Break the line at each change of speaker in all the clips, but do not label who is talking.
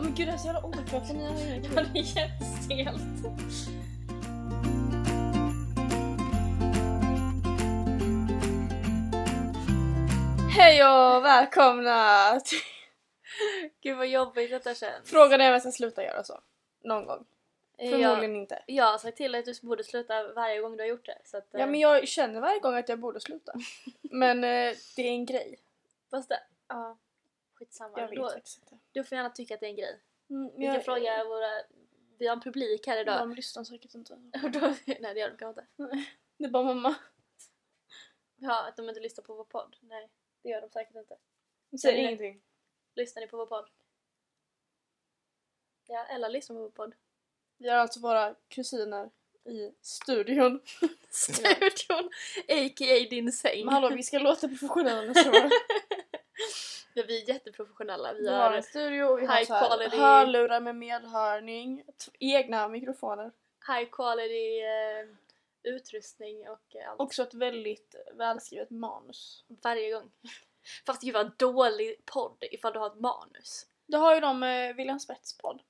men gud det är så jävla oklart för ni har ingen
Ja, det är jättestelt.
Hej och välkomna! till-
Gud vad jobbigt detta känns.
Frågan är om jag ska sluta göra så. Någon gång.
Eh, Jag,
Förmodligen inte.
jag har sagt till att du borde sluta varje gång du har gjort det. Så att, eh,
Ja men jag känner varje gång att jag borde sluta. Men eh, det är en grej.
Fast det, ja, skitsamma.
Jag vet
då,
faktiskt inte.
du får gärna tycka att det är en grej.
Mm, men
Vi kan fråga våra... Vi har en publik här idag.
De lyssnar säkert inte.
Och då, nej det gör de kanske inte.
Det är bara mamma.
Ja, att de inte lyssnar på vår podd. Nej, det gör de säkert inte.
Hon säger
Nej.
ingenting.
Lyssnar ni på vår podd? Ja, Ella lyssnar på vår podd.
Vi har alltså våra kusiner i studion.
Studion, a.k.a. din säng.
Men hallå vi ska låta professionella nästa år.
Ja, vi är jätteprofessionella. Vi
Vi har en
har
studio och vi har
high
så här
quality.
hörlurar med medhörning, t- egna mikrofoner.
high quality eh, utrustning och eh, allt.
Också ett väldigt välskrivet manus.
Varje gång. Fast gud vad dålig podd ifall du har ett manus.
Det har ju de eh, William Spets podd.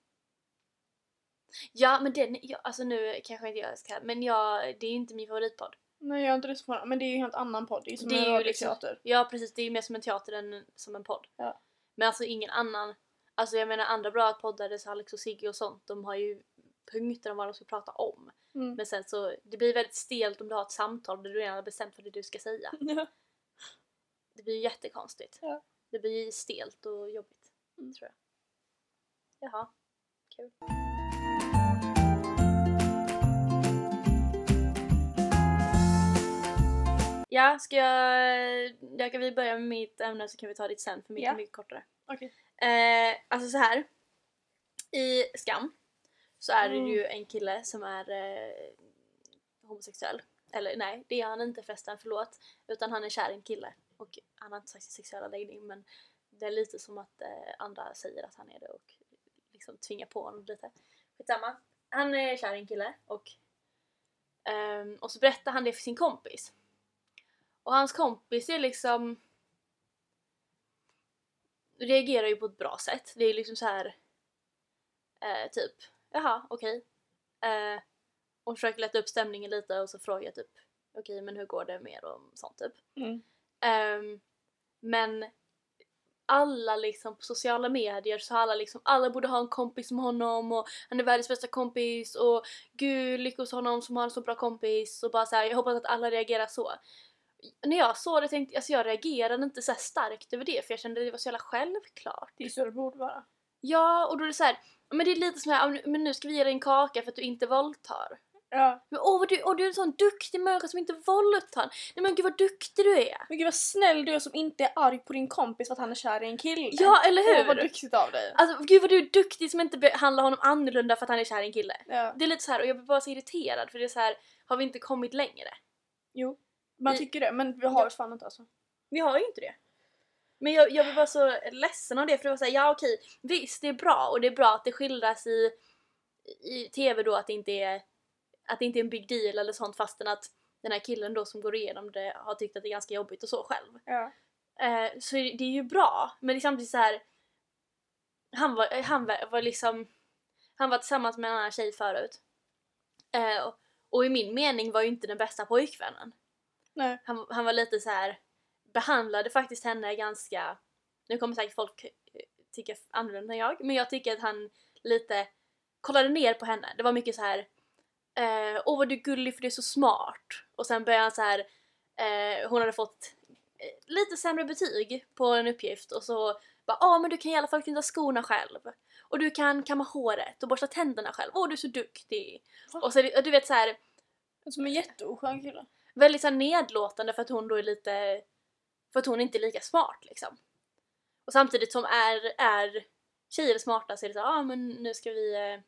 Ja men den, ja, alltså nu kanske inte jag ska, men jag, det är ju inte min favoritpodd.
Nej jag har inte lyssnat på den, men det är ju en helt annan podd. Det är ju liksom- som
Det
en
är ju
radioteater.
Ja precis, det är ju mer som en teater än som en podd.
Ja.
Men alltså ingen annan, alltså jag menar andra bra poddare, så Alex och Sigge och sånt, de har ju punkter om vad de ska prata om.
Mm.
Men sen så, det blir väldigt stelt om du har ett samtal där du redan har bestämt vad det är du ska säga.
Ja.
Det blir jättekonstigt.
Ja.
Det blir stelt och jobbigt.
Mm.
Tror jag. Jaha. Kul. Ja, ska jag... jag kan vi börja med mitt ämne så kan vi ta ditt sen för mitt
Ja.
är mycket kortare.
Okej.
Eh, alltså så här. I Skam så är det
Mm.
ju en kille som är eh, homosexuell. Eller nej, det är han inte förresten, förlåt. Utan han är kär i en kille. Och han har inte sagt sin sexuella läggning men det är lite som att eh, andra säger att han är det och liksom tvingar på honom lite. Skitsamma. Han är kär i en kille och, ehm, och så berättar han det för sin kompis. Och hans kompis är liksom reagerar ju på ett bra sätt. Det är liksom så här eh, typ jaha okej. Eh, och försöker lätta upp stämningen lite och så frågar jag typ okej men hur går det med er och sånt typ.
Mm.
Ehm, men alla liksom på sociala medier så har alla liksom, alla borde ha en kompis som honom och han är världens bästa kompis och gud lyckos honom som har en så bra kompis och bara så här, jag hoppas att alla reagerar så. När jag såg det tänkte jag, alltså jag reagerade inte så här starkt över det för jag kände att det var så jävla självklart.
Det är så det borde vara.
Ja, och då är det så här, men det är lite som här, "Ah, men- men nu ska vi ge dig en kaka för att du inte våldtar.
Ja.
Men åh, vad du, åh, du är en sån duktig människa som inte våldtar. Nej men gud vad duktig du är.
Men gud vad snäll du är som inte är arg på din kompis för att han är kär i en kille.
Ja, eller hur?
Åh vad duktigt av dig.
Alltså gud vad du är duktig som inte behandlar honom annorlunda för att han är kär i en kille.
Ja.
Det är lite så här och jag blir bara så irriterad för det är så här har vi inte kommit längre?
Jo. Man
Vi-
tycker det, men vi har ju fan inte alltså.
Vi har ju inte det. Men jag, jag blir bara så ledsen av det för det var såhär, ja okej, visst det är bra och det är bra att det skildras i, i TV då att det inte är att det inte är en big deal eller sånt fastän att den här killen då som går igenom det har tyckt att det är ganska jobbigt och så själv.
Ja.
Eh, så det det är ju bra, men liksom det är samtidigt så här. Han var, eh, han var, var liksom... Han var tillsammans med en annan tjej förut. Eh, och, och i min mening var ju inte den bästa pojkvännen.
Nej.
Han, han var lite så här behandlade faktiskt henne ganska... Nu kommer säkert folk eh, tycka annorlunda än jag, men jag tycker att han lite kollade ner på henne. Det var mycket så här. eh, Åh vad du är gullig för du är så smart. Och sen började han så här. Eh, hon hade fått eh, lite sämre betyg på en uppgift och så bara ah men du kan i alla fall knyta skorna själv. Och du kan kamma håret och borsta tänderna själv. Åh du är så duktig!
Va?
Och så är det- du vet så här
Som en jätteoskön kille.
väldigt så här nedlåtande för att hon då är lite... För att hon inte är lika smart liksom. Och samtidigt som är, är tjejer smarta så är det så ja ah, men nu ska vi... eh,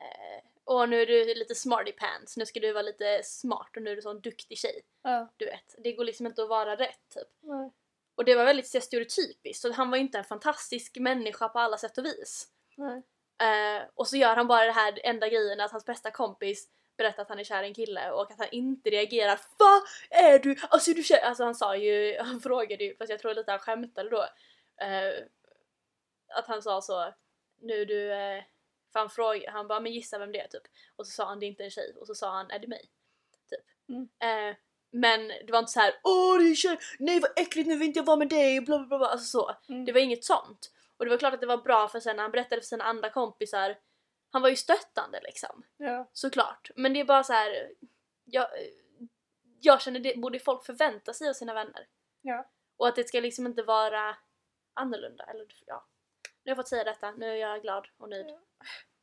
Eh, och nu är du lite smarty pants, nu ska du vara lite smart och nu är du sån duktig tjej.
Ja.
Du vet, det går liksom inte att vara rätt typ.
Nej.
Och det var väldigt så här, stereotypiskt, så han var ju inte en fantastisk människa på alla sätt och vis.
Nej.
Eh, och så gör han bara det här enda grejen att hans bästa kompis berättar att han är kär i en kille och att han inte reagerar Vad är du? Alltså är du kär? Alltså han sa ju, han frågade ju, fast jag tror lite han skämtade då. eh, att han sa så nu du, eh, för han frågade, han bara men gissa vem det är typ. Och så sa han det är inte en tjej och så sa han är det mig? Typ.
Mm.
Eh, men det var inte så här åh det är en tjej, nej vad äckligt nu vill inte jag vara med dig, bla bla bla, bla. Alltså så.
Mm.
Det var inget sånt. Och det var klart att det var bra för sen när han berättade för sina andra kompisar, han var ju stöttande liksom.
Ja.
Såklart. Men det är bara så här. Jag, jag känner det borde folk förvänta sig av sina vänner.
Ja.
Och att det ska liksom inte vara annorlunda. Eller, ja. Nu har jag fått säga detta, nu är jag glad och nöjd.
Ja.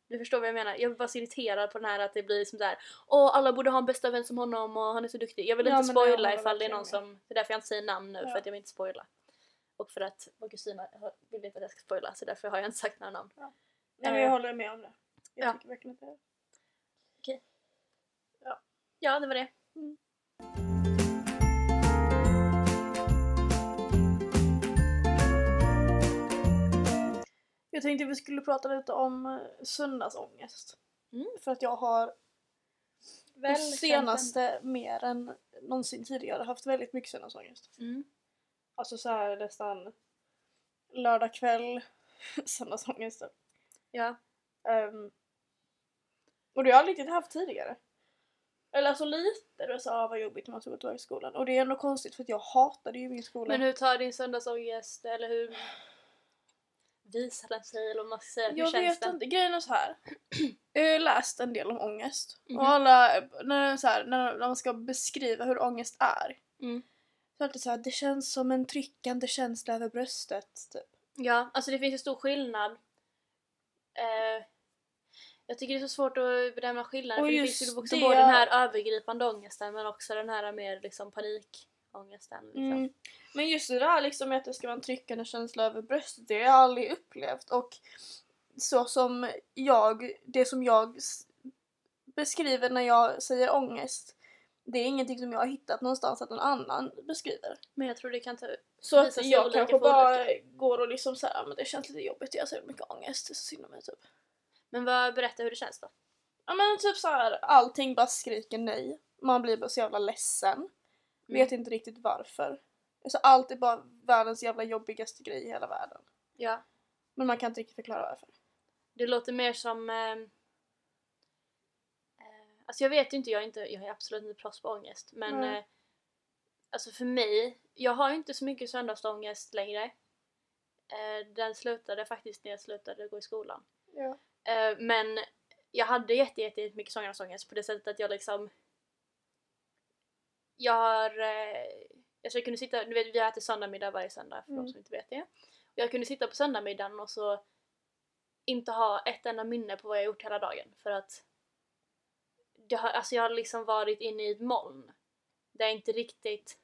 Du förstår vad jag menar. Jag blir bara så irriterad på den här att det blir som där. Åh, alla borde ha en bästa vän som honom och han är så duktig. Jag vill
Ja,
inte
men det
spoila
håller jag
ifall det är någon
verkligen
som... Det är därför jag inte säger namn nu,
Ja.
för att jag vill inte spoila. Och för att vår kusin har- vill inte att jag ska spoila, så därför har jag inte sagt några namn.
Nej, men jag håller med om det. Jag
Ja.
tycker verkligen att det är...
Ja, det var det.
Mm. Jag tänkte vi skulle prata lite om eh, söndagsångest.
Mm.
För att jag har
Väl
det senaste mer än någonsin tidigare haft väldigt mycket söndagsångest.
Mm.
Alltså så här nästan lördag kväll, söndagsångest. typ.
Ja.
Ehm, och det har jag aldrig riktigt haft tidigare. Eller alltså lite, det var så ah, vad jobbigt när man ska gå tillbaka till skolan. Och det är ändå konstigt för att jag hatade ju min skola.
Men hur tar din söndagsångest, eller hur visar den sig, eller vad man ska säga, hur
jag
känns
vet
den?
inte, grejen är så här. Jag har ju läst en del om ångest.
Mhm.
Och alla, när, så här, när, när man ska beskriva hur ångest är.
Mm.
Så är det så här, det känns som en tryckande känsla över bröstet. Typ.
Ja, alltså det finns ju stor skillnad. Eh, jag tycker det är så svårt att bedöma skillnaden,
Och
för det
just
finns ju också
det-
både den här övergripande ångesten men också den här mer liksom panikångesten. Liksom.
Mm. Men just det där liksom med att det ska vara en tryckande känsla över bröstet, det har jag aldrig upplevt. Och så som jag, det som jag s- beskriver när jag säger ångest, det är ingenting som jag har hittat någonstans att någon annan beskriver.
Men jag tror det kan ta...
Så
Visa
att
sig
jag
olika
kanske
för
bara går och liksom såhär, men det känns lite jobbigt, jag har så jävla mycket ångest, det är så synd om mig typ.
Men vad, berätta hur det känns då.
Ja men typ såhär, allting bara skriker nej. Man blir bara så jävla ledsen. Vet inte riktigt varför. Alltså allt är bara världens jävla jobbigaste grej i hela världen.
Ja.
Men man kan inte riktigt förklara varför.
Det låter mer som... Eh, eh, alltså jag vet ju inte, jag är, inte, jag är absolut inte proffs på ångest. Men
Nej.
eh, alltså för mig, jag har ju inte så mycket söndagsångest längre. Eh, den slutade faktiskt när jag slutade gå i skolan.
Ja.
Eh, men jag hade jätte, jätte, jätte mycket söndagsångest på det sättet att jag liksom... Jag har... Eh, jag skulle kunna sitta, du vet, vi äter söndagsmiddag varje söndag för
Mm.
de som inte vet det. Och jag kunde sitta på söndagsmiddagen och så inte ha ett enda minne på vad jag gjort hela dagen för att det har, alltså jag har liksom varit inne i ett moln där jag inte riktigt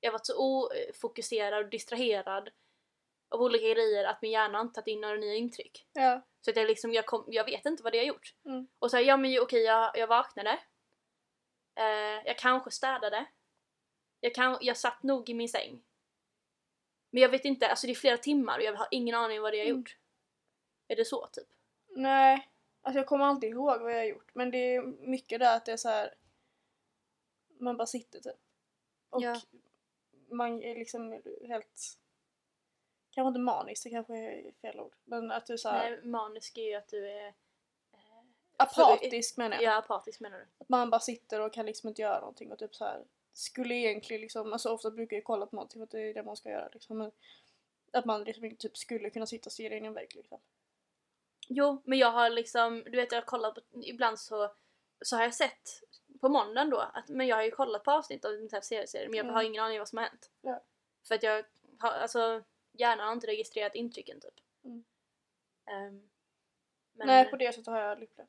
jag har varit så ofokuserad och distraherad av olika grejer att min hjärna inte tagit in några nya intryck.
Ja.
Så att jag liksom, jag, kom, jag vet inte vad det har gjort.
Mm.
Och så här, ja men ju, okej jag, jag vaknade. Eh, jag kanske städade. Jag, kan, jag satt nog i min säng. Men jag vet inte, alltså det är flera timmar och jag har ingen aning vad det har
Mm.
gjort. Är det så typ?
Nej. Alltså jag kommer alltid ihåg vad jag har gjort. Men det är mycket där att det är så här. Man bara sitter typ. Och
Ja.
man är liksom helt... Kanske inte manisk, det kanske är fel ord. Men att du är så här,
Nej, manisk är ju att du är... eh,
apatisk menar
Ja,
jag.
apatisk menar du.
Att man bara sitter och kan liksom inte göra någonting och typ så här skulle egentligen liksom, alltså ofta brukar jag kolla på någonting för att det är det man ska göra liksom. Men att man liksom inte typ skulle kunna sitta och stirra in i en vägg liksom.
Jo, men jag har liksom, du vet jag har kollat på, ibland så, så har jag sett på måndagen då, att, men jag har ju kollat på avsnitt av den här serien men jag
Mm.
har ingen aning vad som har hänt.
Ja.
För att jag har, alltså hjärnan har inte registrerat intrycken typ.
Mm.
Ehm, men,
Nej på det sättet har jag aldrig upplevt det.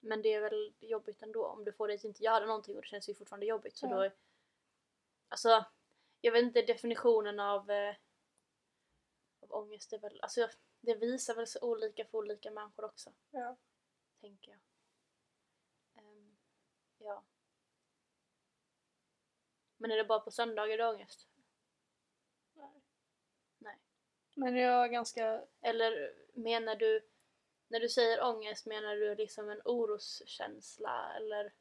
men det är väl jobbigt ändå om du får dig att inte göra någonting och det känns ju fortfarande jobbigt. Så
Ja.
då, alltså, jag vet inte definitionen av, eh, av ångest. Är väl, alltså, jag- det visar väl så olika för olika människor också.
Ja.
tänker jag. Ehm, ja. Men är det bara på söndagar du har ångest?
Men jag är ganska,
Eller menar du, när du säger ångest, menar du liksom en oroskänsla eller?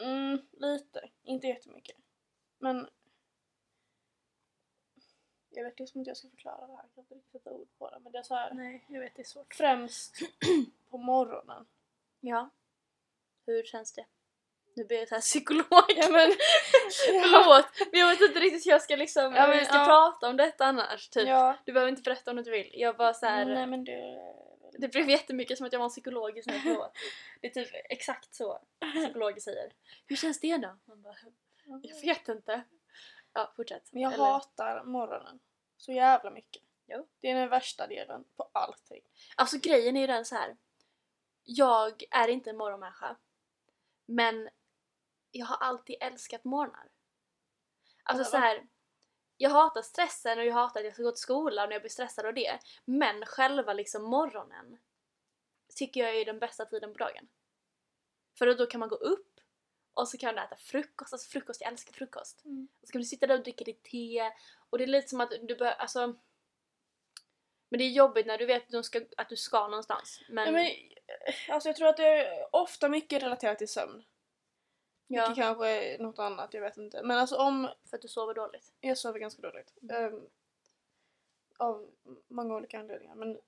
mm, lite, inte jättemycket. Men Jag vet liksom inte hur jag ska förklara det här. Jag kan inte riktigt sätta ord på det. Men det är så här,
Nej, jag vet det är svårt.
främst på morgonen.
Ja. Hur känns det? Nu blir jag så här psykolog.
Ja men...
Förlåt, men jag vet inte riktigt hur jag ska liksom,
Ja,
hur
men,
vi ska
ja.
prata om detta annars. Typ.
ja.
Du behöver inte berätta om du inte vill. Jag bara så här,
Nej men det...
Det blev jättemycket som att jag var en psykolog just nu. förlåt. Det är typ exakt så psykologer säger. Hur känns det då? Man bara, jag vet inte. Ja, fortsätt.
Men jag
Eller-
hatar morgonen. Så jävla mycket.
Jo.
Det är den värsta delen på allting.
Alltså grejen är ju den så här. Jag är inte en morgonmänniska. Men jag har alltid älskat morgnar. Alltså
Ja,
så här. Jag hatar stressen och jag hatar att jag ska gå till skolan och jag blir stressad av det. Men själva liksom morgonen tycker jag är den bästa tiden på dagen. För då kan man gå upp och så kan man äta frukost. Alltså frukost, jag älskar frukost.
Mm.
Och så kan du sitta där och dricka ditt te och det är lite som att du behöver, alltså men det är jobbigt när du vet att du ska, att du ska någonstans. Men,
Nej, men, alltså jag tror att det är ofta mycket relaterat till sömn.
ja,
Vilket kanske är något annat, jag vet inte. Men alltså om
för att du sover dåligt.
Jag sover ganska dåligt. Ehm, av många olika anledningar. Men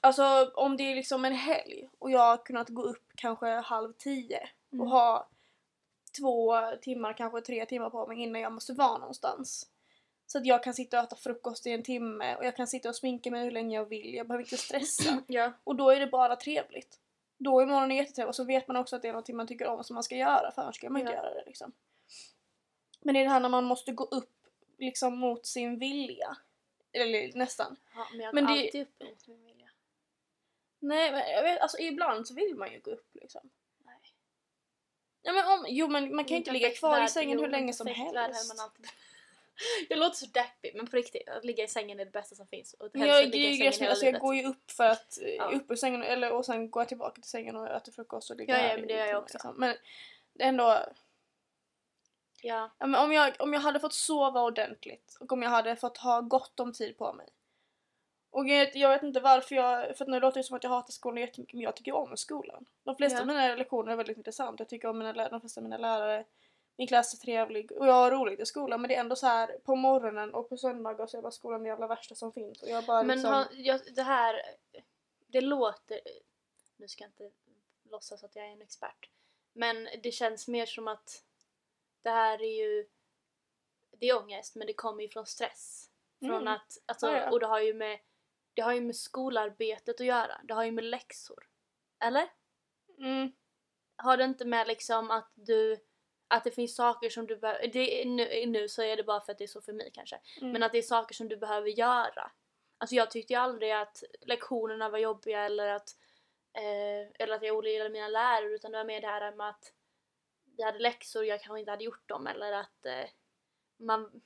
alltså om det är liksom en helg och jag har kunnat gå upp kanske halv tio och
Mm.
ha två timmar, kanske tre timmar på mig innan jag måste vara någonstans. Så att jag kan sitta och äta frukost i en timme och jag kan sitta och sminka mig hur länge jag vill. Jag behöver inte stressa.
Ja.
och då är det bara trevligt. Då är morgonen jättetrevlig och så vet man också att det är någonting man tycker om som man ska göra för annars ska man inte
Ja.
göra det liksom. Men det är det här när man måste gå upp liksom mot sin vilja. Eller nästan.
ja men jag går
Men det-
alltid upp mot min vilja.
Nej men jag vet, alltså ibland så vill man ju gå upp liksom.
Nej.
Ja, men om, jo men man kan ju
I en
inte ligga
perfekt
kvar i
värld-
sängen
jo,
hur
i en
länge som
perfekt värld hade
helst.
man alltid... jag låter så deppig men på riktigt, att ligga i sängen är det bästa som finns. Och
Men
helst
jag,
att
det
ligga i
är ju
sängen
grejen som-
hela
alltså jag
livet.
går ju upp för att,
Ja.
ja. upp ur sängen eller, och sen går jag tillbaka till sängen och äter frukost och ligger
Ja, ja,
här
men
i
det gör jag
timmar,
också.
Liksom. Men det är ändå,
Ja.
Ja, men om, jag, om jag hade fått sova ordentligt och om jag hade fått ha gott om tid på mig. Och jag, vet- jag vet inte varför jag, för att nu låter det som att jag hatar skolan jättemycket men jag tycker om skolan. De flesta
Ja.
av mina lektioner är väldigt intressanta, jag tycker om mina lärare, de flesta av mina lärare. Min klass är trevlig och jag har roligt i skolan men det är ändå så här på morgonen och på söndagar så är bara skolan det jävla värsta som finns. Och jag bara
Men
liksom,
har, jag, det här, det låter, nu ska jag inte låtsas att jag är en expert, men det känns mer som att det här är ju, det är ångest men det kommer ju från stress. Från
Mm.
att, alltså,
Ja, ja.
och det har ju med, det har ju med skolarbetet att göra, det har ju med läxor. Eller?
mm,
Har det inte med liksom att du, att det finns saker som du behöver, det är nu, nu så är det bara för att det är så för mig kanske.
mm.
Men att det är saker som du behöver göra. Alltså jag tyckte ju aldrig att lektionerna var jobbiga eller att, eh, eller att jag ogillade mina lärare utan det var mer det här med att jag hade läxor och jag kanske inte hade gjort dem eller att eh, man...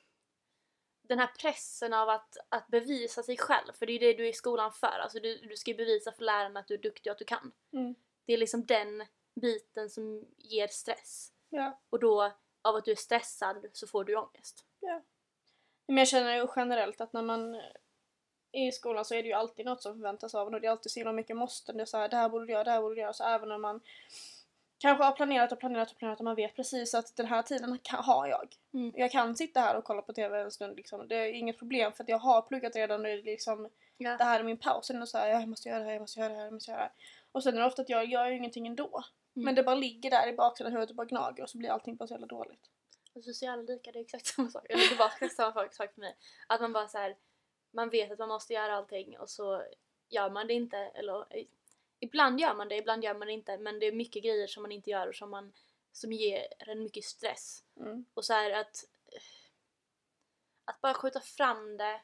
Den här pressen av att, att bevisa sig själv, för det är ju det du är i skolan för. Alltså du, du ska ju bevisa för lärarna att du är duktig och att du kan.
Mm.
Det är liksom den biten som ger stress.
ja.
Och då, av att du är stressad så får du ju ångest.
Men jag känner ju generellt att när man eh, är i skolan så är det ju alltid något som förväntas av en och det är alltid så himla mycket måste. Det är så här, det här borde du göra, det här borde du göra. Så även om man kanske har planerat och planerat och planerat och man vet precis att den här tiden kan, har jag.
Mm.
Jag kan sitta här och kolla på TV en stund liksom. Det är inget problem för att jag har pluggat redan och det är liksom
Ja.
det här är min paus. Och så här, jag måste göra det här, jag måste göra det här, jag måste göra det här. Och sen är det ofta att jag gör ju ingenting ändå.
Mm.
Men det bara ligger där i baksidan av huvudet och bara gnager och så blir allting bara så jävla dåligt.
Alltså sociala lika, det är exakt samma sak. Eller det var exakt samma sak- sak för mig. Att man bara så här, man vet att man måste göra allting och så gör man det inte. Eller, i- ibland gör man det, ibland gör man det inte. Men det är mycket grejer som man inte gör och som, man, som ger en mycket stress.
Mm.
Och så här att, att bara skjuta fram det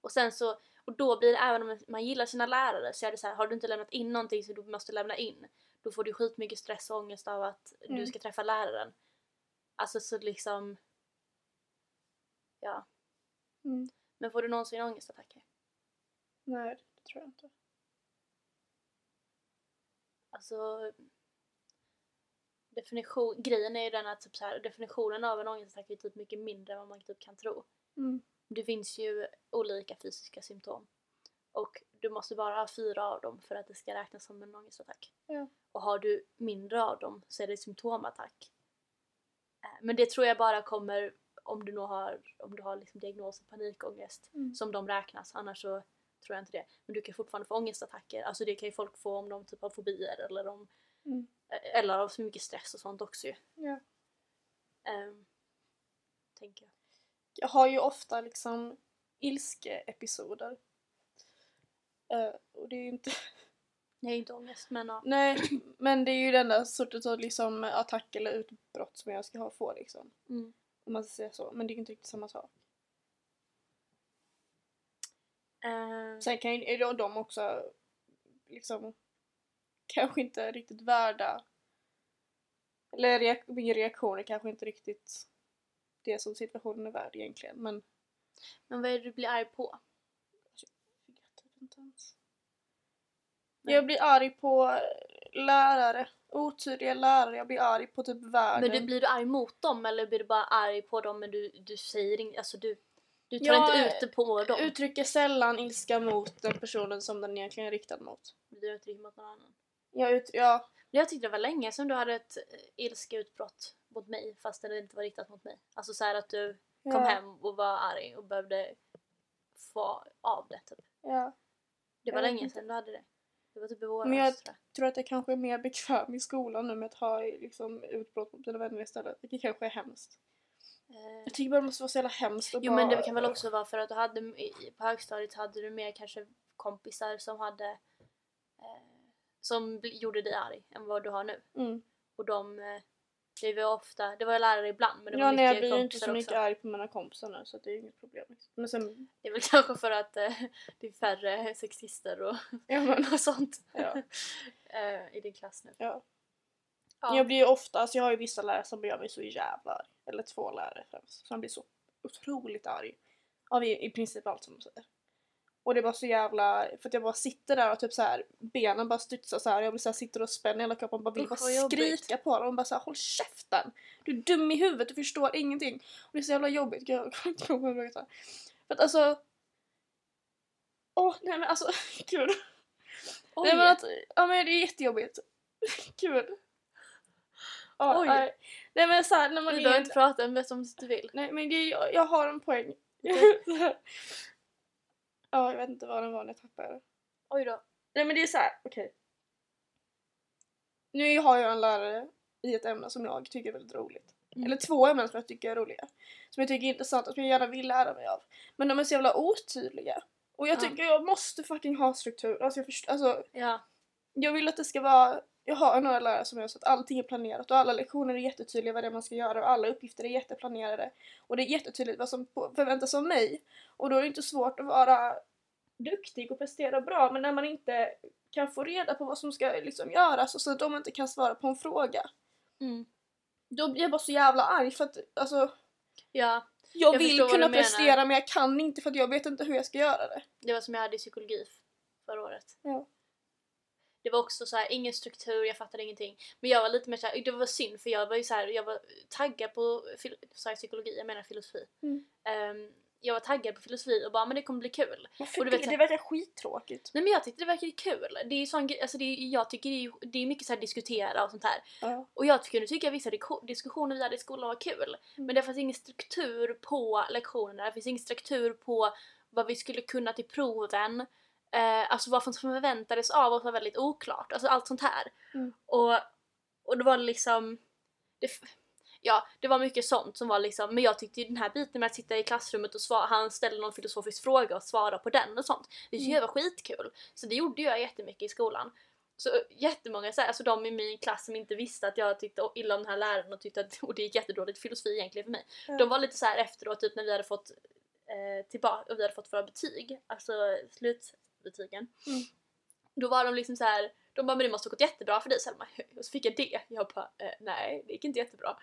och sen så, och då blir det även om man gillar sina lärare så är det så här, har du inte lämnat in någonting som du måste lämna in, då får du skitmycket stress och ångest av att du
Mm.
ska träffa läraren. Alltså så liksom, ja.
Mm.
Men får du någonsin ångestattacker?
Nej, det tror jag inte.
Alltså definition, grejen är ju den att typ så här, definitionen av en ångestattack är typ mycket mindre än vad man typ kan tro.
Mm.
Det finns ju olika fysiska symptom. Och du måste bara ha fyra av dem för att det ska räknas som en ångestattack.
Ja.
Och har du mindre av dem så är det symptomattack. Eh, Men det tror jag bara kommer om du, nog har, om du har liksom diagnosen panikångest
Mm.
som de räknas, annars så tror jag inte det. Men du kan fortfarande få ångestattacker, alltså det kan ju folk få om de typ har fobier eller om
Mm.
eller av så mycket stress och sånt också ju.
Ja.
Ehm, tänker jag.
Jag har ju ofta liksom ilskeepisoder. Eh, och det är ju inte...
Nej, inte ångest men ja.
Nej, men det är ju den där sorten av liksom attack eller utbrott som jag ska ha få liksom.
Mm.
Om man ska säga så. Men det är ju inte riktigt samma sak.
Ehm,
Sen kan ju är då de också liksom kanske inte riktigt värda eller reak- min reaktion är kanske inte riktigt det som situationen är värd egentligen men
men vad är det du blir arg på?
jag vet typ inte ens. Jag blir arg på lärare, otydliga lärare, jag blir arg på typ världen.
Men du, blir du arg mot dem eller blir du bara arg på dem men du, du säger inget, alltså du, du tar
Ja, eh,
inte ut det på dem.
uttrycker sällan ilska mot den personen som den egentligen är riktad mot.
Du gör inte riktigt mot någon annan.
Jag, ut, jag,
Men jag tyckte det var länge sedan du hade ett eh, ilskeutbrott mot mig fast det inte var riktat mot mig. Alltså så här att du kom
ja,
hem och var arg och behövde få av det typ.
Ja.
Det
Jag
var
vet
länge
inte.
sedan du hade det. Det var typ i våras
Men jag-
tror jag.
tror att jag kanske är mer bekväm i skolan nu med att ha liksom, utbrott mot mina vänner istället. Vilket kanske är hemskt.
Eh,
Jag tycker bara det måste vara så jävla hemskt att
Jo
bara...
men det kan väl också vara för att du hade i- på högstadiet hade du mer kanske kompisar som hade eh, som bl- gjorde dig arg än vad du har nu.
Mm.
Och de eh, det var ofta, det var lärare ibland men det var
Ja, nej, jag
mycket
blir ju inte
kompisar
så
också.
mycket arg på mina kompisar nu så att det är inget problem. liksom. Men sen...
Det är väl kanske för att eh, det är färre sexister och,
Ja, men,
och sånt
ja.
eh, i din klass nu.
Ja.
Ja.
Jag blir ju ofta, alltså jag har ju vissa lärare som gör mig så jävla arg. Eller två lärare främst. Som blir så otroligt arg. Av i, i princip allt som de säger. Och det var så jävla, för att jag bara sitter där och typ så här, benen bara studsar så här. Jag blir så här, sitter och spänner hela kroppen och bara vill
Usch,
bara
vad jobbigt.
skrika på dem. Och bara så här, håll käften! Du är dum i huvudet, du förstår ingenting. Och det är så jävla jobbigt, jag kommer inte ihåg vad jag brukar säga. För att alltså... Åh, nej men alltså, gud.
Oj!
Nej men att, ja men det är jättejobbigt. Kul. Ja,
Oj.
Nej. nej men såhär när man
du
är...
behöver inte prata om det som du vill.
Nej men det, är- jag, jag har en poäng. ja jag vet inte vad den var när jag tappade.
Oj då.
Nej men det är så här, okej. Nu har jag en lärare i ett ämne som jag tycker är väldigt roligt.
Mm.
Eller två ämnen som jag tycker är roliga. Som jag tycker är intressanta och som jag gärna vill lära mig av. Men de är så jävla otydliga. Och jag
Ja.
tycker jag måste fucking ha struktur. Alltså jag förstår, alltså
Ja.
jag vill att det ska vara, jag har några lärare som gör så att allting är planerat och alla lektioner är jättetydliga vad det är man ska göra och alla uppgifter är jätteplanerade. Och det är jättetydligt vad som på- förväntas av mig. Och då är det inte svårt att vara duktig och prestera bra men när man inte kan få reda på vad som ska liksom göras och så att de inte kan svara på en fråga.
Mm.
Då blir jag bara så jävla arg för att alltså,
Ja, Jag
jag,
förstår
vill
vad
kunna
du menar.
prestera men jag kan inte för att jag vet inte hur jag ska göra det.
det var som jag hade i psykologi förra året.
Ja.
Det var också så här, ingen struktur, jag fattade ingenting. Men jag var lite mer såhär, det var synd för jag var ju så här, jag var taggad på fil- så här, psykologi, jag menar filosofi.
Mm.
Ehm, jag var taggad på filosofi och bara, men det kommer bli kul.
Och du vet,
det-
det verkar skittråkigt.
Nej men jag tyckte det verkade kul. Det är ju sån, grej- alltså det är, jag tycker det är, ju- det är mycket så här diskutera och sånt här.
Ja.
Och jag kunde tycka vissa diko- diskussioner vi hade i skolan var kul.
Mm.
Men det fanns ingen struktur på lektionerna, det finns ingen struktur på vad vi skulle kunna till proven. Eh, alltså vad som förväntades av oss var väldigt oklart. Alltså allt sånt här.
Mm.
Och, och det var liksom... Det, f- ja, det var mycket sånt som var liksom... Men jag tyckte ju den här biten med att sitta i klassrummet och svara, han ställde någon filosofisk fråga och svara på den och sånt. Det tyckte
Mm.
jag var skitkul. Så det gjorde jag jättemycket i skolan. Så jättemånga, så här, alltså de i min klass som inte visste att jag tyckte illa om den här läraren och tyckte att och det gick jättedåligt filosofi egentligen för mig.
Ja.
De var lite så här efteråt, typ när vi hade fått eh, tillbaka och vi hade fått våra betyg, alltså slutbetygen.
Mm.
Då var de liksom så här, de bara men det måste ha gått jättebra för dig Selma. Och så fick jag det. Jag bara eh, nej det gick inte jättebra.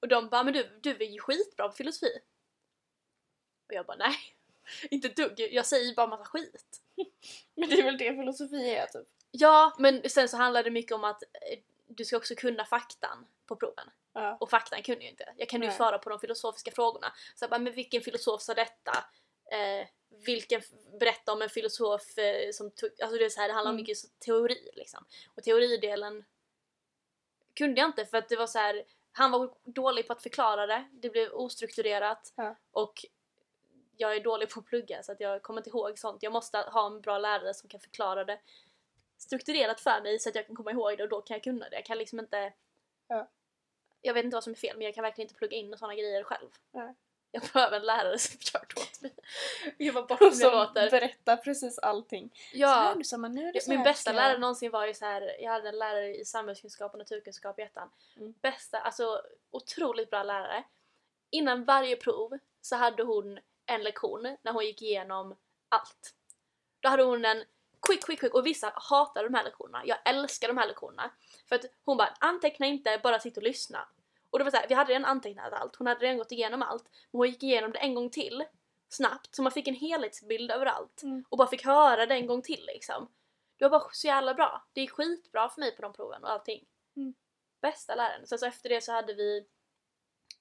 Och de bara men du, du är ju skitbra på filosofi. Och jag bara nej. Inte ett dugg, jag säger ju bara massa skit.
Men det är väl det filosofi är typ.
Ja, men sen så handlar det mycket om att eh, du ska också kunna faktan på proven.
Ja.
Och faktan kunde jag inte. Jag kunde ju
Nej.
svara på de filosofiska frågorna. Så jag bara, men vilken filosof sa detta? Eh, vilken, f- berätta om en filosof eh, som tog, alltså det är så här, det handlar om
Mm.
mycket så- teori liksom. Och teoridelen kunde jag inte för att det var så här Han var dålig på att förklara det, det blev ostrukturerat
Ja.
och jag är dålig på att plugga så att jag kommer inte ihåg sånt. Jag måste ha en bra lärare som kan förklara det strukturerat för mig så att jag kan komma ihåg det och då kan jag kunna det. Jag kan liksom inte...
Ja.
Jag vet inte vad som är fel men jag kan verkligen inte plugga in sådana grejer själv.
Nej.
Jag behöver en lärare som gör det åt mig. Gud vad
Som
bortom jag låter.
berättar precis allting. Så här
Ja.
nu Summa, nu är det så
Min
här
bästa
du ska göra.
lärare någonsin var ju så här, jag hade en lärare i samhällskunskap och naturkunskap i ettan.
Mm.
Bästa, alltså otroligt bra lärare. Innan varje prov så hade hon en lektion när hon gick igenom allt. Då hade hon en quick, quick, quick och vissa hatar de här lektionerna. Jag älskar de här lektionerna. För att hon bara anteckna inte, bara sitt och lyssna. Och det var så här, vi hade redan antecknat allt, hon hade redan gått igenom allt. Men hon gick igenom det en gång till snabbt så man fick en helhetsbild över allt.
Mm.
Och bara fick höra det en gång till liksom. Det var bara så jävla bra. Det gick skitbra för mig på de proven och allting.
Mm.
Bästa läraren. Sen så efter det så hade vi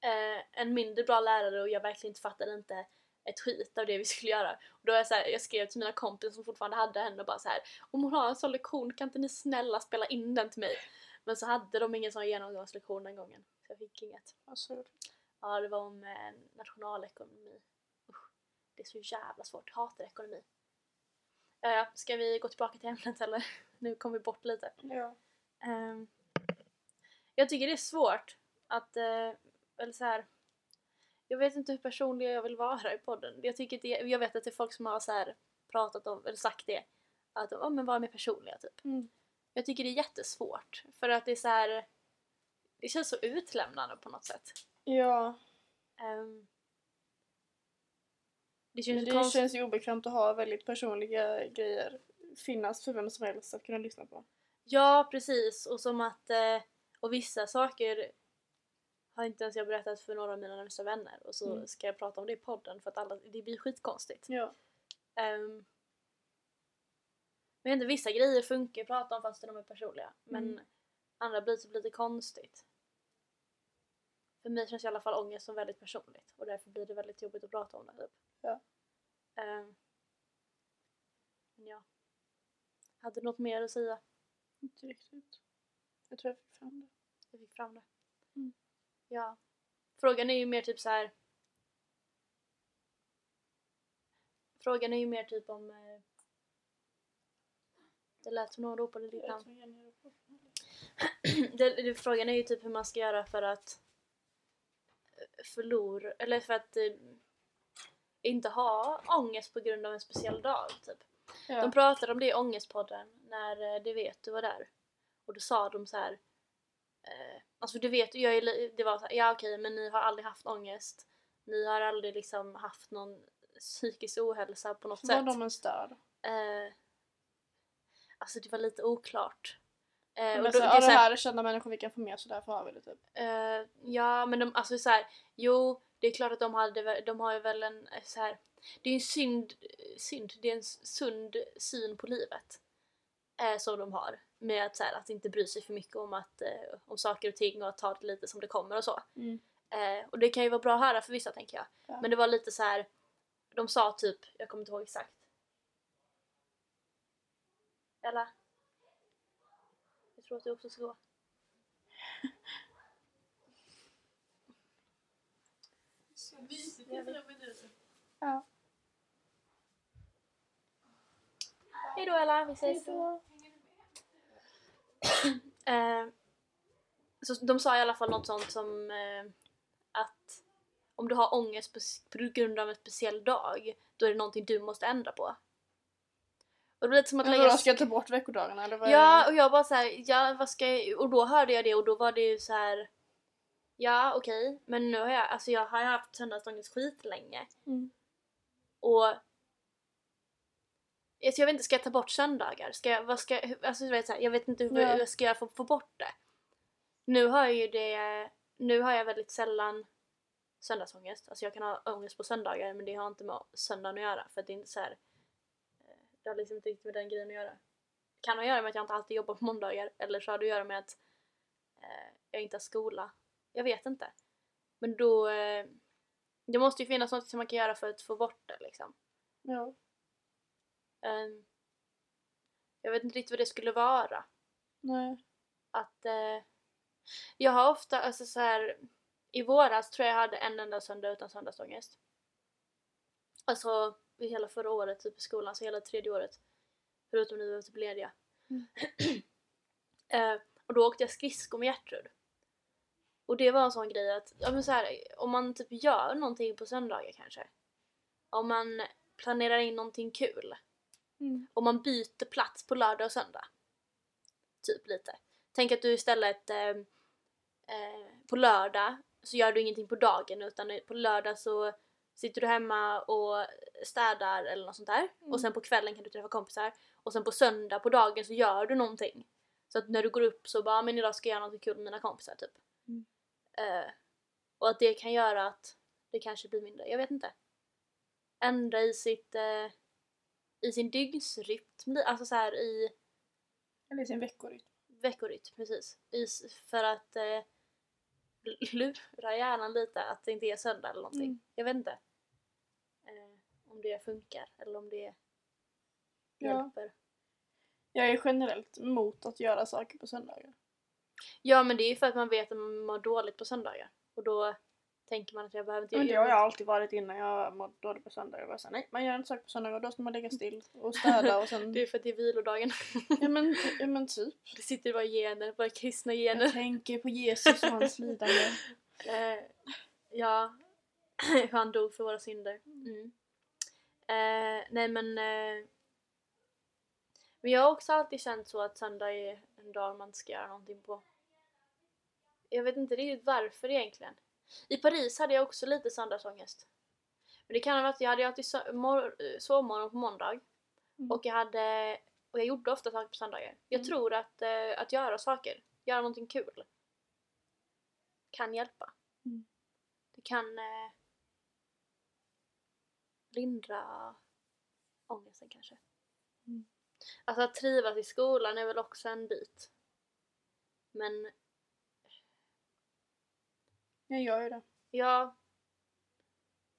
eh, en mindre bra lärare och jag verkligen inte fattade inte ett skit av det vi skulle göra. Och då var jag, så här, jag skrev till mina kompisar som fortfarande hade henne och bara så här om hon har en sån lektion kan inte ni snälla spela in den till mig? Men så hade de ingen sån genomgångslektion den gången. Så jag fick inget.
Alltså,
Ja, det var om eh, nationalekonomi. Usch, det är så jävla svårt. Jag Hatar ekonomi. Ja, ja, ska vi gå tillbaka till ämnet eller? Nu kom vi bort lite.
ja.
Ehm, jag tycker det är svårt att, eh, eller så här. Jag vet inte hur personlig jag vill vara i podden. Jag, tycker det, jag vet att det är folk som har så här pratat om, eller sagt det, att de, "Ja, men var mer personliga typ.
Mm.
Jag tycker det är jättesvårt för att det är så här. det känns så utlämnande på något sätt.
ja.
Ehm, det
Men
känns
Det
konstigt.
känns ju obekvämt att ha väldigt personliga grejer finnas för vem som helst att kunna lyssna på.
Ja, precis. Och som att... eh, Och vissa saker har inte ens jag berättat för några av mina närmsta vänner. Och så
Mm.
ska jag prata om det i podden för att alla, det blir skitkonstigt.
Ja.
Um, jag vet inte, vissa grejer funkar att prata om fast de är personliga. Men
Mm.
andra blir typ lite konstigt. För mig känns i alla fall ångest som väldigt personligt och därför blir det väldigt jobbigt att prata om det. Typ.
Ja.
Ehm, men ja. Hade du något mer att säga?
Inte riktigt. Jag tror jag fick fram det.
Jag fick fram det.
Mm.
Ja. Frågan är ju mer typ så här. Frågan är ju mer typ om... eh, Det lät som någon ropade ditt namn. det, det, frågan är ju typ hur man ska göra för att eh, förlora, eller för att eh, inte ha ångest på grund av en speciell dag. Typ.
Ja.
De pratade om det i Ångestpodden när eh, Du vet du var där. Och då sa de så här. Eh, alltså du vet, jag är, li- det var så här, ja okej men ni har aldrig haft ångest. Ni har aldrig liksom haft någon psykisk ohälsa på något
Var
sätt.
de en stör?
Eh, alltså det var lite oklart. Eh,
Men
och
alltså,
då-
ja,
så
det
här-
här är kända människor vi kan få med så därför har vi det typ.
Eh, ja, men de, alltså så här, jo, det är klart att de, hade, väl- de har ju väl en eh, så här, det är ju en synd, synd, det är en s- sund syn på livet eh, som de har. Med att, så här, att inte bry sig för mycket om, att, eh, om saker och ting och att ta det lite som det kommer och så.
Mm.
Eh, och det kan ju vara bra att höra för vissa tänker jag.
Ja.
Men det var lite så här. de sa typ, jag kommer inte ihåg exakt. Eller? Jag tror att du också ska gå.
Ja.
Hejdå Ella, vi ses. Eh, så de sa i alla fall något sånt som eh, att om du har ångest på, s- på grund av en speciell dag, då är det någonting du måste ändra på. Och det var lite som att
Men
lägga...
vadå, ska jag ta bort veckodagarna eller vad
Ja, och jag bara så här, ja vad ska jag... Och då hörde jag det och då var det ju så här. Ja, okej, men nu har jag, alltså jag har ju haft söndagsångest skitlänge.
Mm.
Och... Alltså jag vet inte, ska jag ta bort söndagar? Ska jag, vad ska, hur- alltså du vet, så här, jag vet inte hur,
Ja.
hur ska jag få, få bort det? Nu har jag ju det, nu har jag väldigt sällan söndagsångest. Alltså jag kan ha ångest på söndagar men det har inte med söndagen att göra för att det är inte så här. eh, Det har liksom inte riktigt med den grejen att göra. Det kan ha att göra med att jag inte alltid jobbar på måndagar eller så har det att göra med att eh, jag inte har skola. Jag vet inte. Men då, eh, det måste ju finnas något som man kan göra för att få bort det liksom.
Ja.
Ehm, jag vet inte riktigt vad det skulle vara.
Nej.
Att eh, Jag har ofta, alltså så här, i våras tror jag jag hade en enda söndag utan söndagsångest. Alltså i hela förra året, typ i skolan, så hela tredje året. Förutom nu när vi var typ lediga.
Mm.
eh, och då åkte jag skridskor med Gertrud. Och det var en sån grej att, ja men så här, om man typ gör någonting på söndagar kanske. Om man planerar in någonting kul.
Mm.
Om man byter plats på lördag och söndag. Typ lite. Tänk att du istället eh, eh, på lördag så gör du ingenting på dagen utan på lördag så sitter du hemma och städar eller något sånt där.
Mm.
Och sen på kvällen kan du träffa kompisar. Och sen på söndag på dagen så gör du någonting. Så att när du går upp så bara "Ah, men idag ska jag göra något kul med mina kompisar typ.
Mm.
Eh, och att det kan göra att det kanske blir mindre, jag vet inte. Ändra i sitt eh, i sin dygnsrytm, alltså så här i
Eller sin veckorytm.
veckorytm, precis. I, s- för att eh, l- lura hjärnan lite att det inte är söndag eller någonting.
Mm.
Jag vet inte. Eh, om det funkar eller om det
Ja.
hjälper. Ja.
Jag är generellt emot att göra saker på söndagar.
men det är ju för att man vet att man mår dåligt på söndagar. Och då tänker man att jag behöver inte
Men det har jag alltid varit innan jag mådde dåligt på söndagar. Jag bara så här, nej man gör inte saker på söndagar, då ska man ligga still och städa och sen...
Det är för att det är vilodagen.
ja, men, ja men typ.
det sitter bara gener, bara kristna gener.
Jag tänker på Jesus och hans lidande.
Eh, ja, hur han dog för våra synder. Mm. Eh, nej men... Eh, men jag har också alltid känt så att söndag är en dag man ska göra någonting på. Jag vet inte riktigt varför egentligen. I Paris hade jag också lite söndagsångest. Men det kan ha varit att jag hade alltid sö- mor- eh, sovmorgon på måndag.
Mm.
Och jag hade... Och jag gjorde ofta saker på söndagar. Jag
Mm.
tror att, eh, att göra saker, göra någonting kul, kan hjälpa.
Mm.
Det kan eh, lindra ångesten kanske.
Mm.
Alltså att trivas i skolan är väl också en bit. Men
Jag gör ju det.
ja...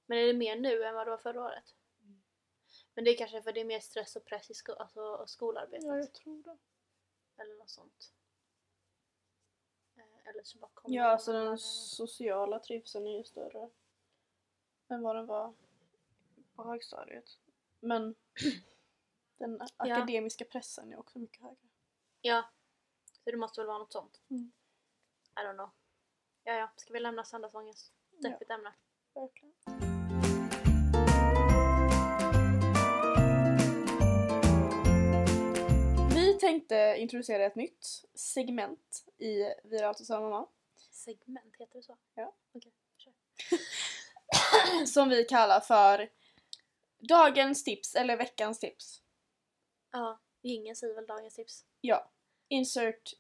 Men är det mer nu än vad det var förra året?
Mm.
Men det är kanske för det är mer stress och press i sko- alltså, och skolarbetet.
Ja, jag tror det.
Eller något sånt. Eh, Eller så bara kommer
Ja,
det
alltså
någon annan.
den sociala trivseln är ju större än vad den var på högstadiet. Men den akademiska pressen är också mycket högre.
Ja. Så det måste väl vara något sånt.
Mm.
I don't know. Ja, ja. Ska vi lämna söndagsångest?
Ja.
Deppigt ämne.
Verkligen. Vi tänkte introducera ett nytt segment i Vi är alltid samma mamma
Segment, heter det så?
som vi kallar för Dagens tips eller veckans tips.
Ja. Ingen säger väl dagens tips?
Ja. Insert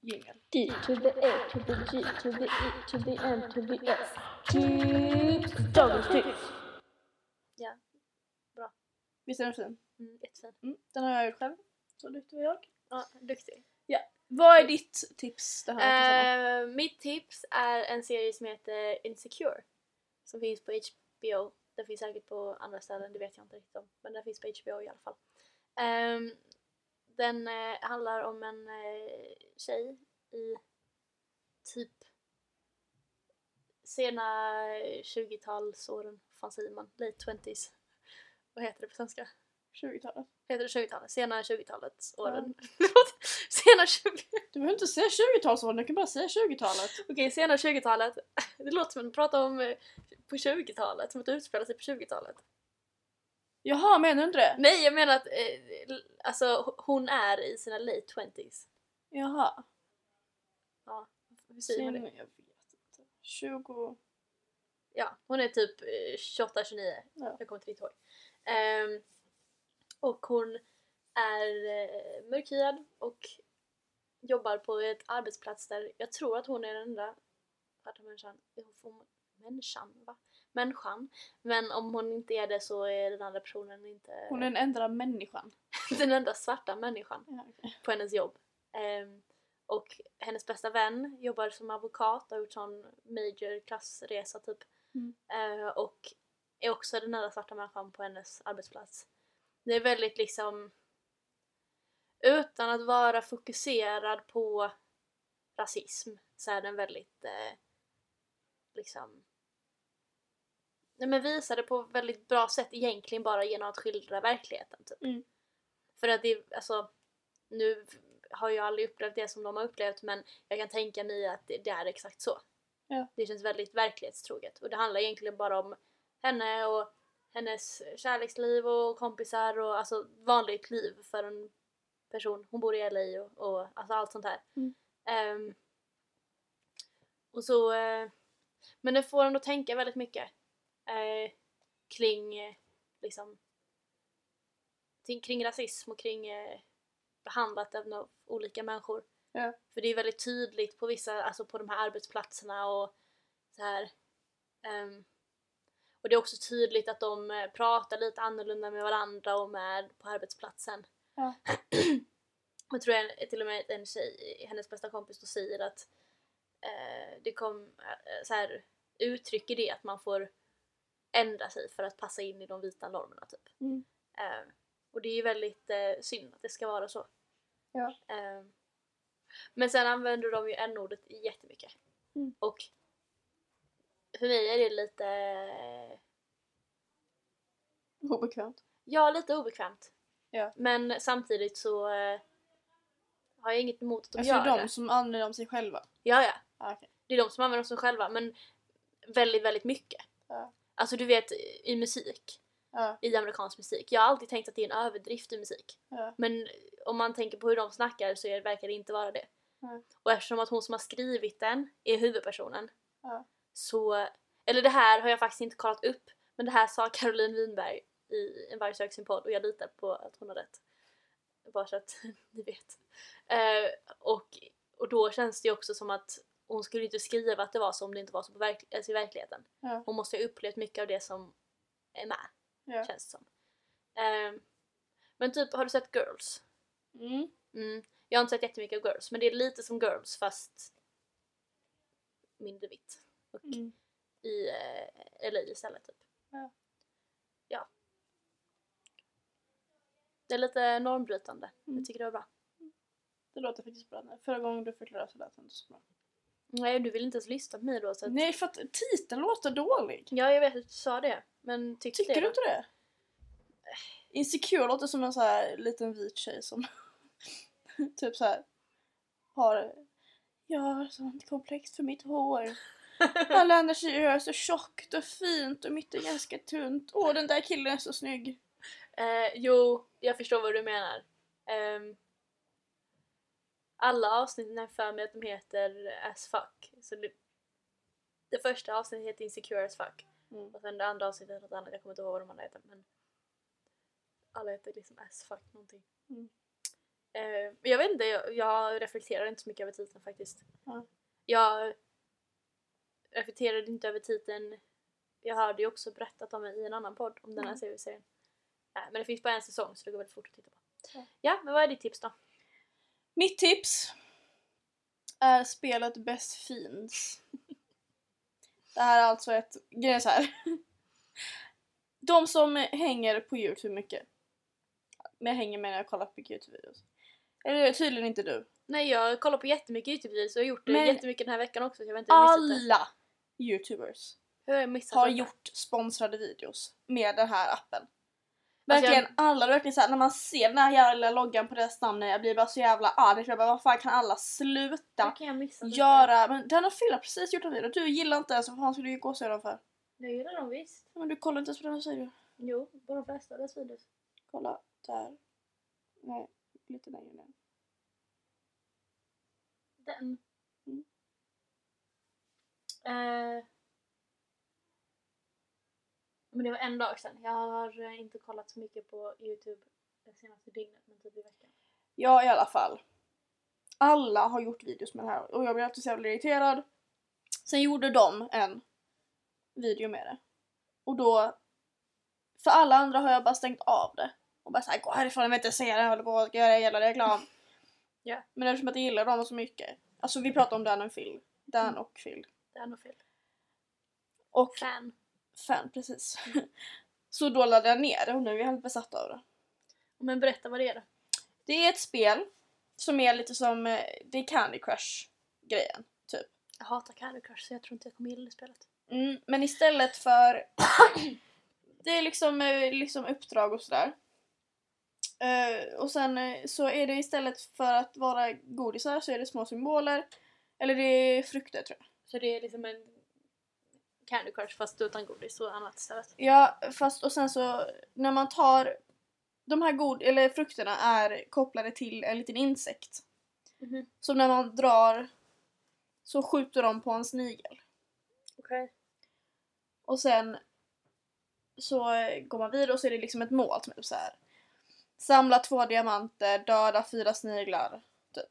jingle.
D to the A to the G to the E to the M to the S. Tips, dagens tips.
Visst är den fin?
Mm, jättefin.
Mm, den har jag gjort själv. Så duktig var jag.
Ja, duktig.
Vad är ditt tips det här?
Eh, mitt tips är en serie som heter Insecure. Som finns på HBO. Den finns säkert på andra ställen, det vet jag inte riktigt om. Men den finns på HBO i alla fall. Ehm, den eh, handlar om en eh, tjej i typ sena 20-talsåren. Fan säger man? Late 20s. Vad heter det på svenska?
20-talet.
Heter det 20-talet? Sena 20-talets åren.
Ja.
sena 20
Du behöver inte säga 20-talsåldern, du kan bara säga 20-talet.
Okej, sena 20-talet. Det låter som att man pratar om eh, på 20-talet, som att det utspelar sig på 20-talet.
Jaha, menar du inte det?
Nej, jag menar att eh, l- alltså, h- hon är i sina late 20s.
Jaha.
Hur säger man det?
Sen- Jag vet inte. 20...
Ja, hon är typ eh, 28, 29.
Ja.
Jag kommer inte riktigt ihåg. Ehm, och hon är eh, mörkhyad och jobbar på ett arbetsplats där jag tror att hon är den enda svarta människan. Jo, får- Människan, va? Människan. Men om hon inte är det så är den andra personen inte
Hon är den enda människan.
den enda svarta människan
Ja, okej.
på hennes jobb. Ehm, och hennes bästa vän jobbar som advokat och har gjort sån major klassresa typ.
Mm.
Eh, och är också den enda svarta människan på hennes arbetsplats. Det är väldigt liksom utan att vara fokuserad på rasism så är den väldigt eh, liksom Nej, men visade på väldigt bra sätt egentligen bara genom att skildra verkligheten. Typ.
Mm.
För att det, alltså, nu har jag aldrig upplevt det som de har upplevt men jag kan tänka mig att det, det är exakt så.
Ja.
Det känns väldigt verklighetstroget och det handlar egentligen bara om henne och hennes kärleksliv och kompisar och alltså vanligt liv för en person. Hon bor i LA och, och alltså allt sånt här.
Mm.
Ehm, och så, eh, men det får en att tänka väldigt mycket eh, kring eh, liksom ting- kring rasism och kring eh, behandlat av no- olika människor.
Ja.
För det är väldigt tydligt på vissa, alltså på de här arbetsplatserna och så här. Ehm, och det är också tydligt att de eh, pratar lite annorlunda med varandra och med på arbetsplatsen.
Ja.
Jag tror jag, till och med en tjej, hennes bästa kompis, då säger att eh, det kom, eh, så här, uttrycker det att man får ändra sig för att passa in i de vita normerna typ.
Mm.
Eh, och det är ju väldigt eh, synd att det ska vara så.
Ja.
Eh, men sen använder de ju n-ordet jättemycket.
Mm.
Och för mig är det lite
Obekvämt.
Ja, lite obekvämt.
Ja.
Men samtidigt så eh, har jag inget emot att de
Alltså
gör
de
det.
som använder om sig själva.
Ja, ja.
Ah, okej.
Det är de som använder sig själva, men väldigt, väldigt mycket.
Ja.
Alltså du vet, i musik,
Ja,
i amerikansk musik. Jag har alltid tänkt att det är en överdrift i musik.
ja,
Men om man tänker på hur de snackar så är- verkar det inte vara det.
Nej.
Och eftersom att hon som har skrivit den är huvudpersonen
Ja.
så... Eller det här har jag faktiskt inte kollat upp men det här sa Caroline Winberg i En varg söker sin podd och jag litar på att hon har rätt. Bara så att ni vet. Eh, och, och då känns det ju också som att hon skulle inte skriva att det var så om det inte var så på verk- alltså i verkligheten.
Ja.
Hon måste ha upplevt mycket av det som är med,
ja.
känns det som. Eh, men typ, har du sett Girls?
Mm.
Mm. Jag har inte sett jättemycket av Girls, men det är lite som Girls fast mindre vitt. Och
Mm.
i eh, LA istället typ.
Ja.
Ja. Det är lite normbrytande.
Mm.
Jag tycker det var bra.
Det låter faktiskt bra. Förra gången du förklarade så lät det inte så bra.
Nej, du vill inte ens lyssna på mig då så att...
Nej, för att titeln låter dålig.
Ja, jag vet att du sa det. Men tyckte
Tycker
det
du
då?
inte det? Insecure låter som en så här liten vit tjej som typ så här har jag har sånt komplex för mitt hår. Alla andra tjejer har så tjockt och fint och mitt är ganska tunt. Åh den där killen är så snygg.
Eh, jo, jag förstår vad du menar. Ehm, alla avsnitten här för mig att de heter As Fuck. Så det, det första avsnittet heter Insecure As Fuck.
Mm.
Och sen det andra avsnittet heter något annat, jag kommer inte ihåg vad de andra heter. Men alla heter liksom As Fuck någonting.
Mm.
Eh, men jag vet inte, jag, jag reflekterar inte så mycket över titeln faktiskt.
Ja.
Jag reflekterade inte över titeln. Jag hörde ju också berättat om den i en annan podd, om den här
Mm.
serien. Nej, men det finns bara en säsong så det går väldigt fort att titta på.
Ja.
Ja, men vad är ditt tips då?
Mitt tips är spelet Best Fiends. Det här är alltså ett... Grejen är så här. De som hänger på Youtube mycket. Med hänger med när jag kollar på Youtube-videos. Eller tydligen inte du.
Nej, jag kollar på jättemycket Youtube-videos och jag har gjort det
Men-
jättemycket den här veckan också så jag vet inte hur jag har missat
Alla Youtubers
det. Hur har jag missat
har
detta?
gjort sponsrade videos med den här appen.
jag-
Verkligen alla, verkligen såhär, när man ser den här jävla lilla loggan på deras namn, jag blir bara så jävla arg. Jag bara, vad fan kan alla sluta
Hur kan jag missa detta?
göra? Men den har Filla precis gjort en video, du gillar inte den så vad fan skulle du gå och se den för?
Jag gillar dem visst.
Ja, Men du kollar inte ens på den, säger du.
Jo, på de flesta av deras videos.
Kolla där. Nej, lite längre ner.
Den.
Mm.
Eh. men det var en dag sedan. Jag har eh, inte kollat så mycket på Youtube det senaste dygnet men typ i veckan.
Ja i alla fall. Alla har gjort videos med det här och jag blir alltid så jävla irriterad. Sen gjorde de en video med det. Och då... För alla andra har jag bara stängt av det. Och bara såhär gå härifrån jag vill inte se det, jag håller på att göra jävla reklam.
Ja.
Men eftersom att jag gillar dem så mycket. Alltså vi pratar om Dan och Phil. Dan och Phil.
Det är nog fel.
Och
Fan.
fan precis. så då laddade jag ner det och nu är jag helt besatt av det.
Men berätta vad det är då.
Det är ett spel som är lite som, eh, det är Candy Crush grejen typ.
Jag hatar Candy Crush så jag tror inte jag kommer gilla det spelet.
Mm, men istället för... det är liksom, eh, liksom uppdrag och sådär. Eh, och sen eh, så är det istället för att vara godisar så är det små symboler. Eller det är frukter tror jag.
Så det är liksom en Candy Crush fast utan godis och annat istället.
Ja, fast och sen så när man tar... De här god, eller frukterna är kopplade till en liten insekt.
Mhm.
Så när man drar så skjuter de på en snigel.
Okej.
Och sen så eh, går man vidare och så är det liksom ett mål typ så här. Samla två diamanter, döda fyra sniglar. Typ.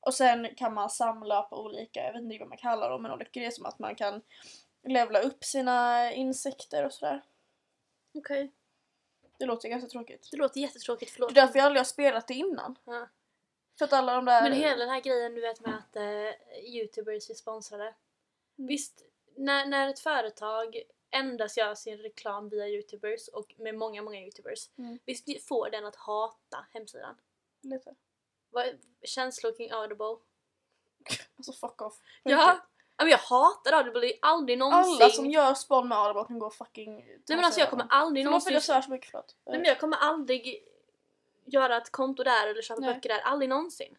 Och sen kan man samla på olika, jag vet inte vad man kallar dem, men olika grejer som att man kan levla upp sina insekter och sådär.
Okej.
Det låter ganska tråkigt.
Det låter jättetråkigt, förlåt.
Det är därför jag aldrig har spelat det innan.
Ja.
För att alla de där...
Men hela den här grejen du vet med att eh, youtubers är sponsrade.
Mm.
Visst, när, när ett företag endast gör sin reklam via youtubers och med många, många youtubers.
Mm.
Visst får den att hata hemsidan?
Lite.
Vad, känslor kring Audible?
Alltså fuck off.
Ja! ja, men jag hatar Audible, det är aldrig någonsin.
Alla som gör spawn med Audible kan gå och fucking...
Nej men alltså jag kommer aldrig
Förlåt för att
någonsin...
jag svär så mycket, förlåt.
Nej men jag kommer aldrig göra ett konto där eller köpa
Nej.
böcker där, aldrig någonsin.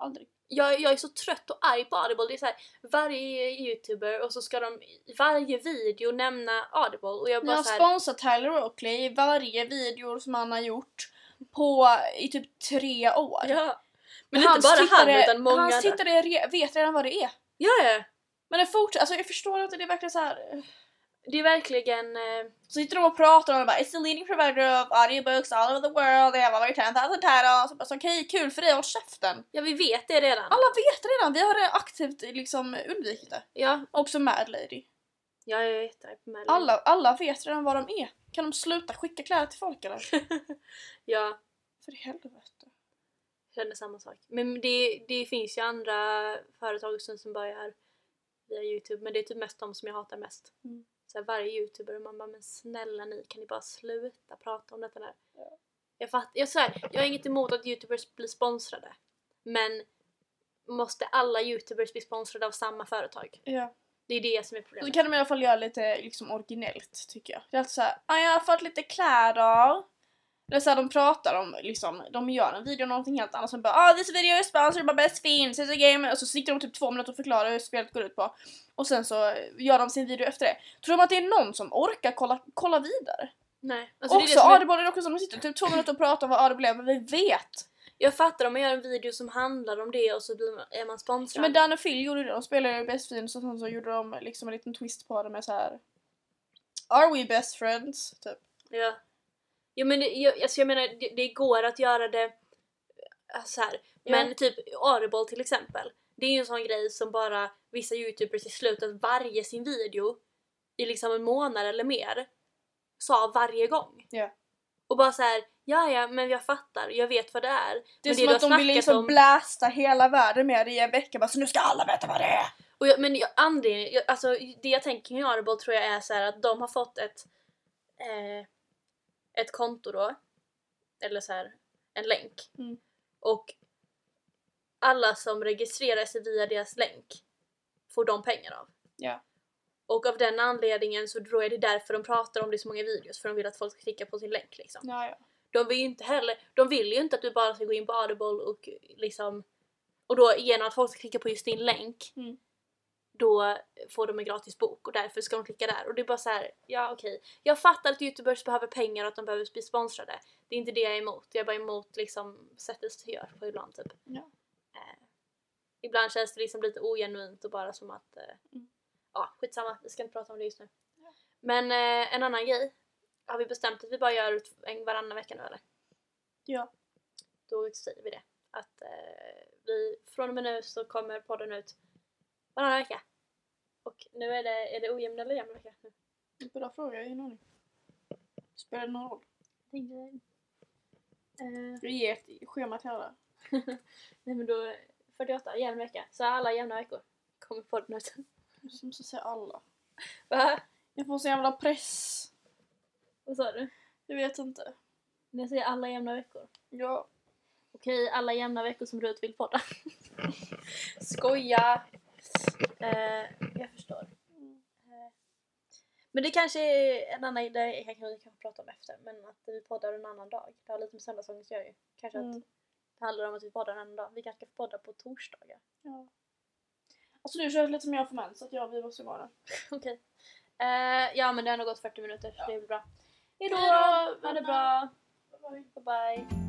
Aldrig.
jag, jag är så trött och arg på Audible. Det är så här, varje youtuber och så ska de i varje video nämna Audible och jag
Ni
bara
har
så här,
sponsrat Tyler Oakley i varje video som han har gjort på i typ tre år.
ja. Men
Hans
inte bara han
tittare-
utan många
Hans
andra.
tittare re, vet redan vad det är.
Ja, ja.
Men det fortsätter, alltså jag förstår inte, det är verkligen så här. eh,
Det är verkligen... Eh,
Så sitter de och pratar och de bara “It's the leading provider of audiobooks all over the world, they have over 10,000 titles” och bara så, “Okej, kul för dig, håll käften!”
ja, vi vet det redan.
Alla vet redan, vi har redan aktivt liksom undvikit det.
Ja,
Också Mad Lady.
jag är jättearg på Mad Lady.
Alla, alla vet redan vad de är. Kan de sluta skicka kläder till folk eller?
Ja,
för helvete.
jag känner samma sak. Men det, det finns ju andra företag också som börjar via youtube men det är typ mest de som jag hatar mest.
Mm.
Så här, varje youtuber och man bara men snälla ni kan ni bara sluta prata om detta där. Jag fattar, jag, så här, jag har inget emot att youtubers blir sponsrade men måste alla youtubers bli sponsrade av samma företag?
Ja.
Det är det som är
Så
problemet.
kan de i alla fall göra lite liksom originellt tycker jag. Det är alltså såhär, ah, jag har fått lite kläder. Eller såhär de pratar om liksom, de gör en video om någonting helt annat som bara ah this video is sponsored by best fiends, it's a game. Och så sitter de typ två minuter och förklarar hur spelet går ut på. Och sen så gör de sin video efter det. Tror de att det är någon som orkar kolla, kolla vidare?
Nej. Alltså, det är det
också
som är-
Audible är det också som de sitter typ två minuter och pratar om vad Audible är, men vi vet!
jag fattar om man gör en video som handlar om det och så blir man, är man
Ja,
sponsrad.
men Dan och Phil gjorde det, de spelade ju Best Fiends och sen så gjorde de liksom en liten twist på det med så här. Are we best friends? Typ.
Ja. ja men det, jag, alltså jag menar, det, det går att göra det äh, så här.
Ja.
Men typ Audible till exempel. Det är ju en sån grej som bara vissa youtubers i slutet varje sin video i liksom en månad eller mer sa varje gång.
Ja.
Och bara så här, ja ja men jag fattar, jag vet vad det är.
Det är
Men
som
du
att
har
de vill
snackat
liksom
om-
blästa hela världen med det i en vecka bara så nu ska alla veta vad det är!
Och jag, men jag, anledningen, jag, alltså det jag tänker kring Audible tror jag är så här att de har fått ett eh, ett konto då eller så här en länk
Mm.
och alla som registrerar sig via deras länk får de pengar av.
Ja.
Och av den anledningen så tror jag det är därför de pratar om det i så många videos för de vill att folk ska klicka på sin länk liksom.
Ja, ja.
De vill ju inte heller, de vill ju inte att du bara ska gå in på Audible och liksom och då genom att folk ska klicka på just din länk
Mm.
då får de en gratis bok och därför ska de klicka där och det är bara så här, ja okej. Jag fattar att youtubers behöver pengar och att de behöver bli sponsrade. Det är inte det jag är emot, jag är bara emot liksom sättet det görs på ibland typ.
Ja.
Eh, ibland känns det liksom lite ogenuint och bara som att, eh,
Mm.
ja skitsamma, vi ska inte prata om det just nu. Men eh, en annan grej, har vi bestämt att vi bara gör ut en varannan vecka nu eller?
Ja.
Då säger vi det. Att eh, vi, från och med nu så kommer podden ut varannan vecka. Och nu är det, är det ojämn eller jämn vecka? nu?
Bra fråga, jag har ingen aning. Spelar det någon roll?
Eh,
Vi ger ett schema till alla.
nej men då, 48, jämn vecka. Så alla jämna veckor kommer podden ut.
Jag måste säga alla.
Va?
Jag får så jävla press.
Vad sa du?
Jag vet inte.
När jag säger alla jämna veckor.
Ja.
Okej, alla jämna veckor som Rut vill podda. Skoja! Eh, jag förstår. Eh, Men det kanske är en annan idé jag kan, vi kan prata om efter. Men att vi poddar en annan dag. Det har lite med söndagsångest att göra ju. Kanske att
Mm.
det handlar om att vi poddar en annan dag. Vi kanske ska podda på torsdagar.
Ja. Alltså du känns lite som jag får mens, så att jag och vi måste gå nu.
Okej. Eh, ja men det har nog gått 40 minuter. så Det är väl bra. Hejdå!
Hejdå,
Ha det
vänner.
bra!
Bye, bye.
Bye bye!